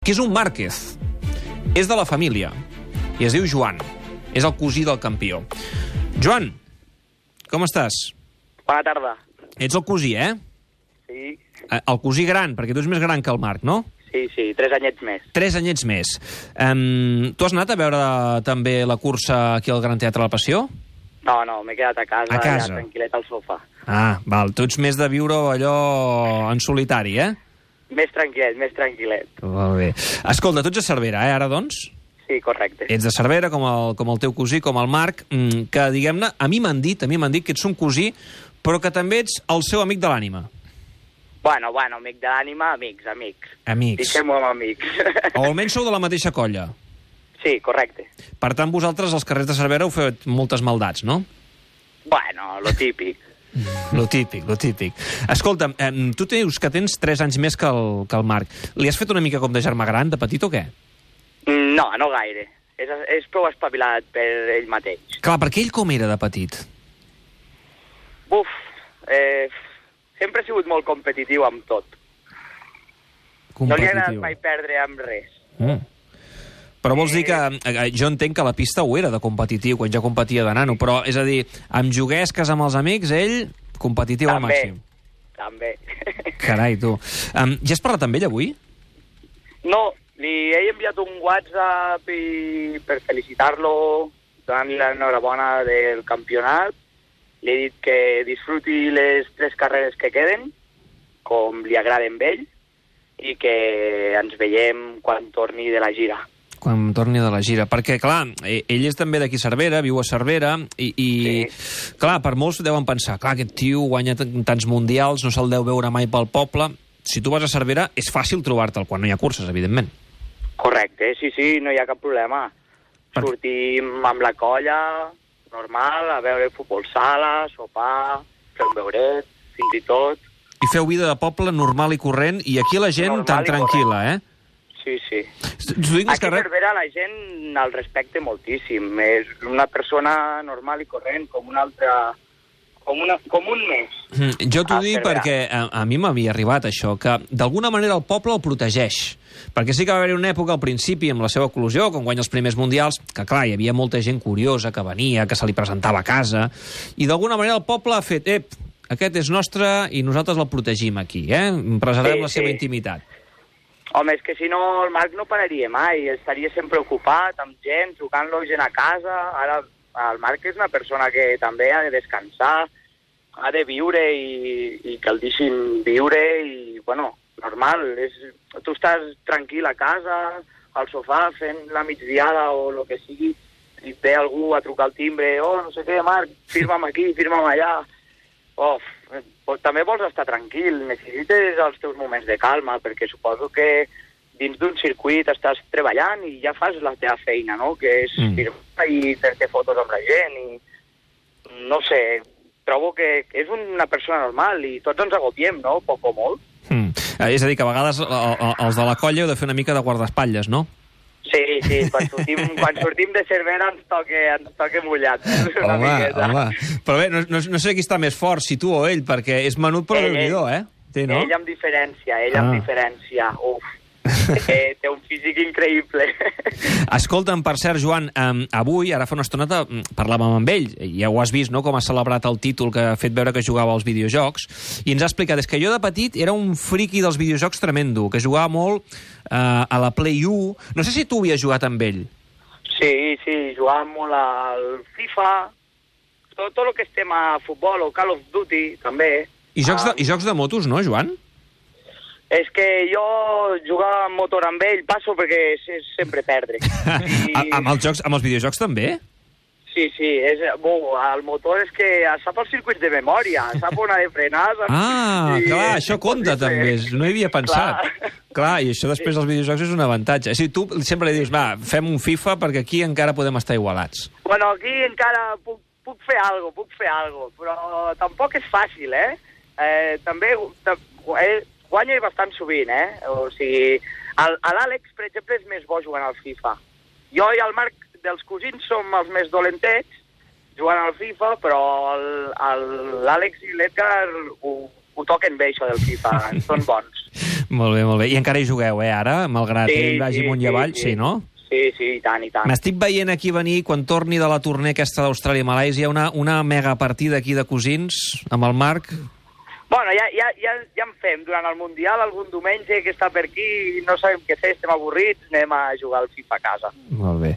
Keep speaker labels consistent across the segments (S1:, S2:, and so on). S1: que és un Márquez. És de la família. I es diu Joan. És el cosí del campió. Joan, com estàs?
S2: Bona tarda.
S1: Ets el cosí, eh?
S2: Sí,
S1: Eh, El cosí gran, perquè tu ets més gran que el Marc, no?
S2: sí, sí, tres anyets més.
S1: Tres anyets més. Um, tu has anat a veure també la cursa aquí al Gran Teatre de la Passió?
S2: No, no, m'he quedat a casa,
S1: A casa.
S2: allà, tranquil·let al sofà.
S1: Ah, val. Tu ets més de viure allò en solitari, eh?
S2: Més tranquil·let, més tranquil·let.
S1: Molt bé. Escolta, tu ets de Cervera, eh, ara, doncs?
S2: Sí, correcte.
S1: Ets de Cervera, com el, com el teu cosí, com el Marc, mm, que, diguem-ne, a mi m'han dit, a mi m'han dit que ets un cosí, però que també ets el seu amic de l'ànima.
S2: Bueno, bueno, amic de l'ànima, amics, amics.
S1: Amics. Oh.
S2: Deixem-ho amb amics.
S1: O almenys sou de la mateixa colla.
S2: Sí, correcte.
S1: Per tant, vosaltres als carrers de Cervera heu fet moltes maldats, no?
S2: Bueno, lo típic.
S1: Lo típic, lo típic. Escolta'm, eh, tu dius que tens 3 anys més que el, que el Marc. Li has fet una mica com de germà gran, de petit o què?
S2: Mm, No, no gaire. És, és prou espavilat per ell mateix.
S1: Clar, perquè ell com era de petit?
S2: Buf, eh, sempre ha sigut molt competitiu amb tot. No li ha agradat mai perdre amb res.
S1: Mm. Però vols dir que... eh, Jo entenc que la pista ho era de competitiu, quan ja competia de nano, però, és a dir, amb juguesques amb els amics, ell, competitiu al
S2: també,
S1: màxim.
S2: també.
S1: Carai, tu. Um, ja has parlat amb ell avui?
S2: No, li he enviat un WhatsApp i per felicitar-lo, donant-li l'enhorabona del campionat. Li he dit que disfruti les tres carreres que queden, com li agraden a ell, i que ens veiem quan torni de la gira.
S1: Quan torni de la gira. Perquè, clar, eh, ell és també d'aquí Cervera, viu a Cervera, i, i sí. clar, per molts deuen pensar, clar, aquest tio guanya tan- tants mundials, no se'l deu veure mai pel poble... Si tu vas a Cervera, és fàcil trobar-te'l quan no hi ha curses, evidentment.
S2: Correcte, eh? sí, sí, no hi ha cap problema.
S1: Per-
S2: Sortim amb la colla, normal, a veure futbol sala, sopar, fer un beuret, fins i tot.
S1: I feu vida de poble normal i corrent, i aquí la gent
S2: Normal
S1: tan
S2: i corrent.
S1: tranquil·la, eh?
S2: Sí, sí.
S1: T'ho dic més
S2: Aquí
S1: que
S2: a
S1: res...
S2: Cervera la gent el respecte moltíssim. És una persona normal i corrent, com una altra... Com, una, com un més.
S1: Mm, Jo t'ho
S2: a
S1: dic
S2: Cervera.
S1: perquè a, a mi m'havia arribat això, que d'alguna manera el poble el protegeix. Perquè sí que va haver una època al principi amb la seva eclosió, quan guanya els primers mundials, que clar, hi havia molta gent curiosa que venia, que se li presentava a casa, i d'alguna manera el poble ha fet, ep, aquest és nostre i nosaltres el protegim aquí, eh? Preservem
S2: Sí,
S1: la seva
S2: sí.
S1: intimitat.
S2: Home, és que si no el Marc no pararia mai, estaria sempre ocupat amb gent, trucant-lo gent a casa. Ara el Marc és una persona que també ha de descansar, ha de viure i, i que el deixin viure i, bueno, normal. És, tu estàs tranquil a casa, al sofà, fent la migdiada o el que sigui, i et ve algú a trucar al timbre, oh, no sé què, Marc, firma'm aquí, firma'm allà. Of, eh, pues també vols estar tranquil, necessites els teus moments de calma, perquè suposo que dins d'un circuit estàs treballant i ja fas la teva feina, no?, que és
S1: Mm.
S2: mm. firmar i fer-te fotos amb la gent i... No sé, trobo que és una persona normal i tots ens agopiem, no?, poc o molt.
S1: Mm. Eh, És a dir, que a vegades el- el- els de la colla heu de fer una mica de guardaespatlles, no?
S2: Sí, sí, quan sortim, quan sortim de Cervera ens toque, ens toque mullat. una miqueta.
S1: Però bé, no, no, no sé qui està més fort, si tu o ell, perquè és menut però
S2: Ell,
S1: déu nhi eh? Té, no?
S2: Ell amb diferència, ell
S1: Ah.
S2: ah. amb diferència. Uf, eh, té un físic increïble.
S1: Escolta'm, per cert, Joan, um, avui, ara fa una estoneta, mm, parlàvem amb ell, ja ho has vist, no?, com ha celebrat el títol que ha fet veure que jugava als videojocs, i ens ha explicat, és que jo de petit era un friki dels videojocs tremendo, que jugava molt eh, a la Play 1, no sé si tu havies jugat amb ell.
S2: sí, sí, jugàvem molt al FIFA, tot, tot el que estem a futbol o Call of Duty, també.
S1: I jocs, de,
S2: Ah,
S1: I jocs de motos, no, Joan?
S2: És que jo jugava amb motor amb ell, passo perquè és, és sempre perdre. I-
S1: A, amb, els jocs, amb els videojocs també?
S2: Sí, sí, és, bo, el motor és que sap els circuits de memòria, sap on ha de frenar... Sap...
S1: Ah,
S2: Sí,
S1: clar,
S2: és
S1: això compta també,
S2: impossible.
S1: és- no hi havia pensat. Clar,
S2: Clar.
S1: i això després dels videojocs és un avantatge. O sigui, tu sempre li dius, va, fem un FIFA perquè aquí encara podem estar igualats.
S2: Bueno, aquí encara puc, puc fer alguna puc fer alguna però tampoc és fàcil, eh? eh també ta- eh, guanya bastant sovint, eh? O sigui, el- a l'Àlex, per exemple, és més bo jugant al FIFA. Jo i el Marc dels cosins som els més dolentets jugant al FIFA, però el- el- l'Àlex i l'Edgar ho, ho toquen bé, això del FIFA, són bons.
S1: Molt bé, molt bé. I encara hi jugueu, eh, ara? Malgrat
S2: Sí,
S1: sí, ell vagi
S2: sí,
S1: sí, amunt i
S2: sí,
S1: avall,
S2: sí. Ah.
S1: sí, no?
S2: Sí, sí, i tant, i tant.
S1: M'estic veient aquí venir, quan torni de la torner aquesta d'Austràlia-Malàisia, una, una mega partida aquí de cosins amb el Marc.
S2: Bueno, ja, ja, ja, ja en fem. Durant el Mundial, algun diumenge que està per aquí, i no sabem què fer, estem avorrits, anem a jugar al FIFA a casa.
S1: Molt bé.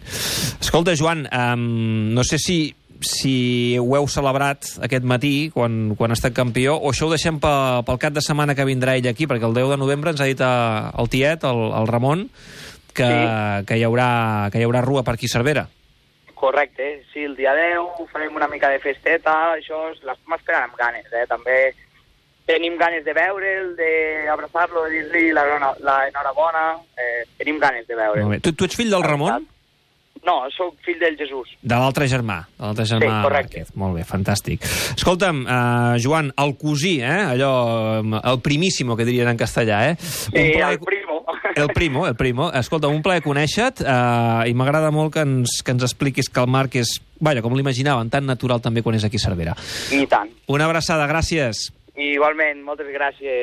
S1: Escolta, Joan, um, no sé si si ho heu celebrat aquest matí, quan, quan ha estat campió, o això ho deixem pe, pel cap de setmana que vindrà ell aquí, perquè el 10 de novembre ens ha dit a, el tiet, el, el Ramon, que, sí.
S2: Sí.
S1: que, hi haurà, que hi haurà rua per aquí a Cervera.
S2: Correcte, sí, el dia 10 farem una mica de festeta, això és- l'estem esperant amb ganes, eh? també tenim ganes de veure'l, d'abraçar-lo, de dir-li la- la- l'enhorabona, eh, tenim ganes de
S1: Molt
S2: veure'l.
S1: bé. Tu, tu ets fill del Ramon?
S2: No, sóc fill del Jesús.
S1: De l'altre germà. De l'altre germà
S2: Sí, correcte.
S1: Márquez. Molt bé, fantàstic. Escolta'm, uh, Joan, el cosí, eh? allò, eh, el primíssimo, que dirien en castellà, eh? Un
S2: Sí,
S1: plaer-
S2: el primo.
S1: El primo, el primo. Escolta, un plaer conèixer-te eh, i m'agrada molt que ens, que ens expliquis que el Marc és, vaja, com l'imaginaven, tan natural també quan és aquí a Cervera.
S2: I tant.
S1: Una abraçada, gràcies.
S2: I igualment, moltes gràcies.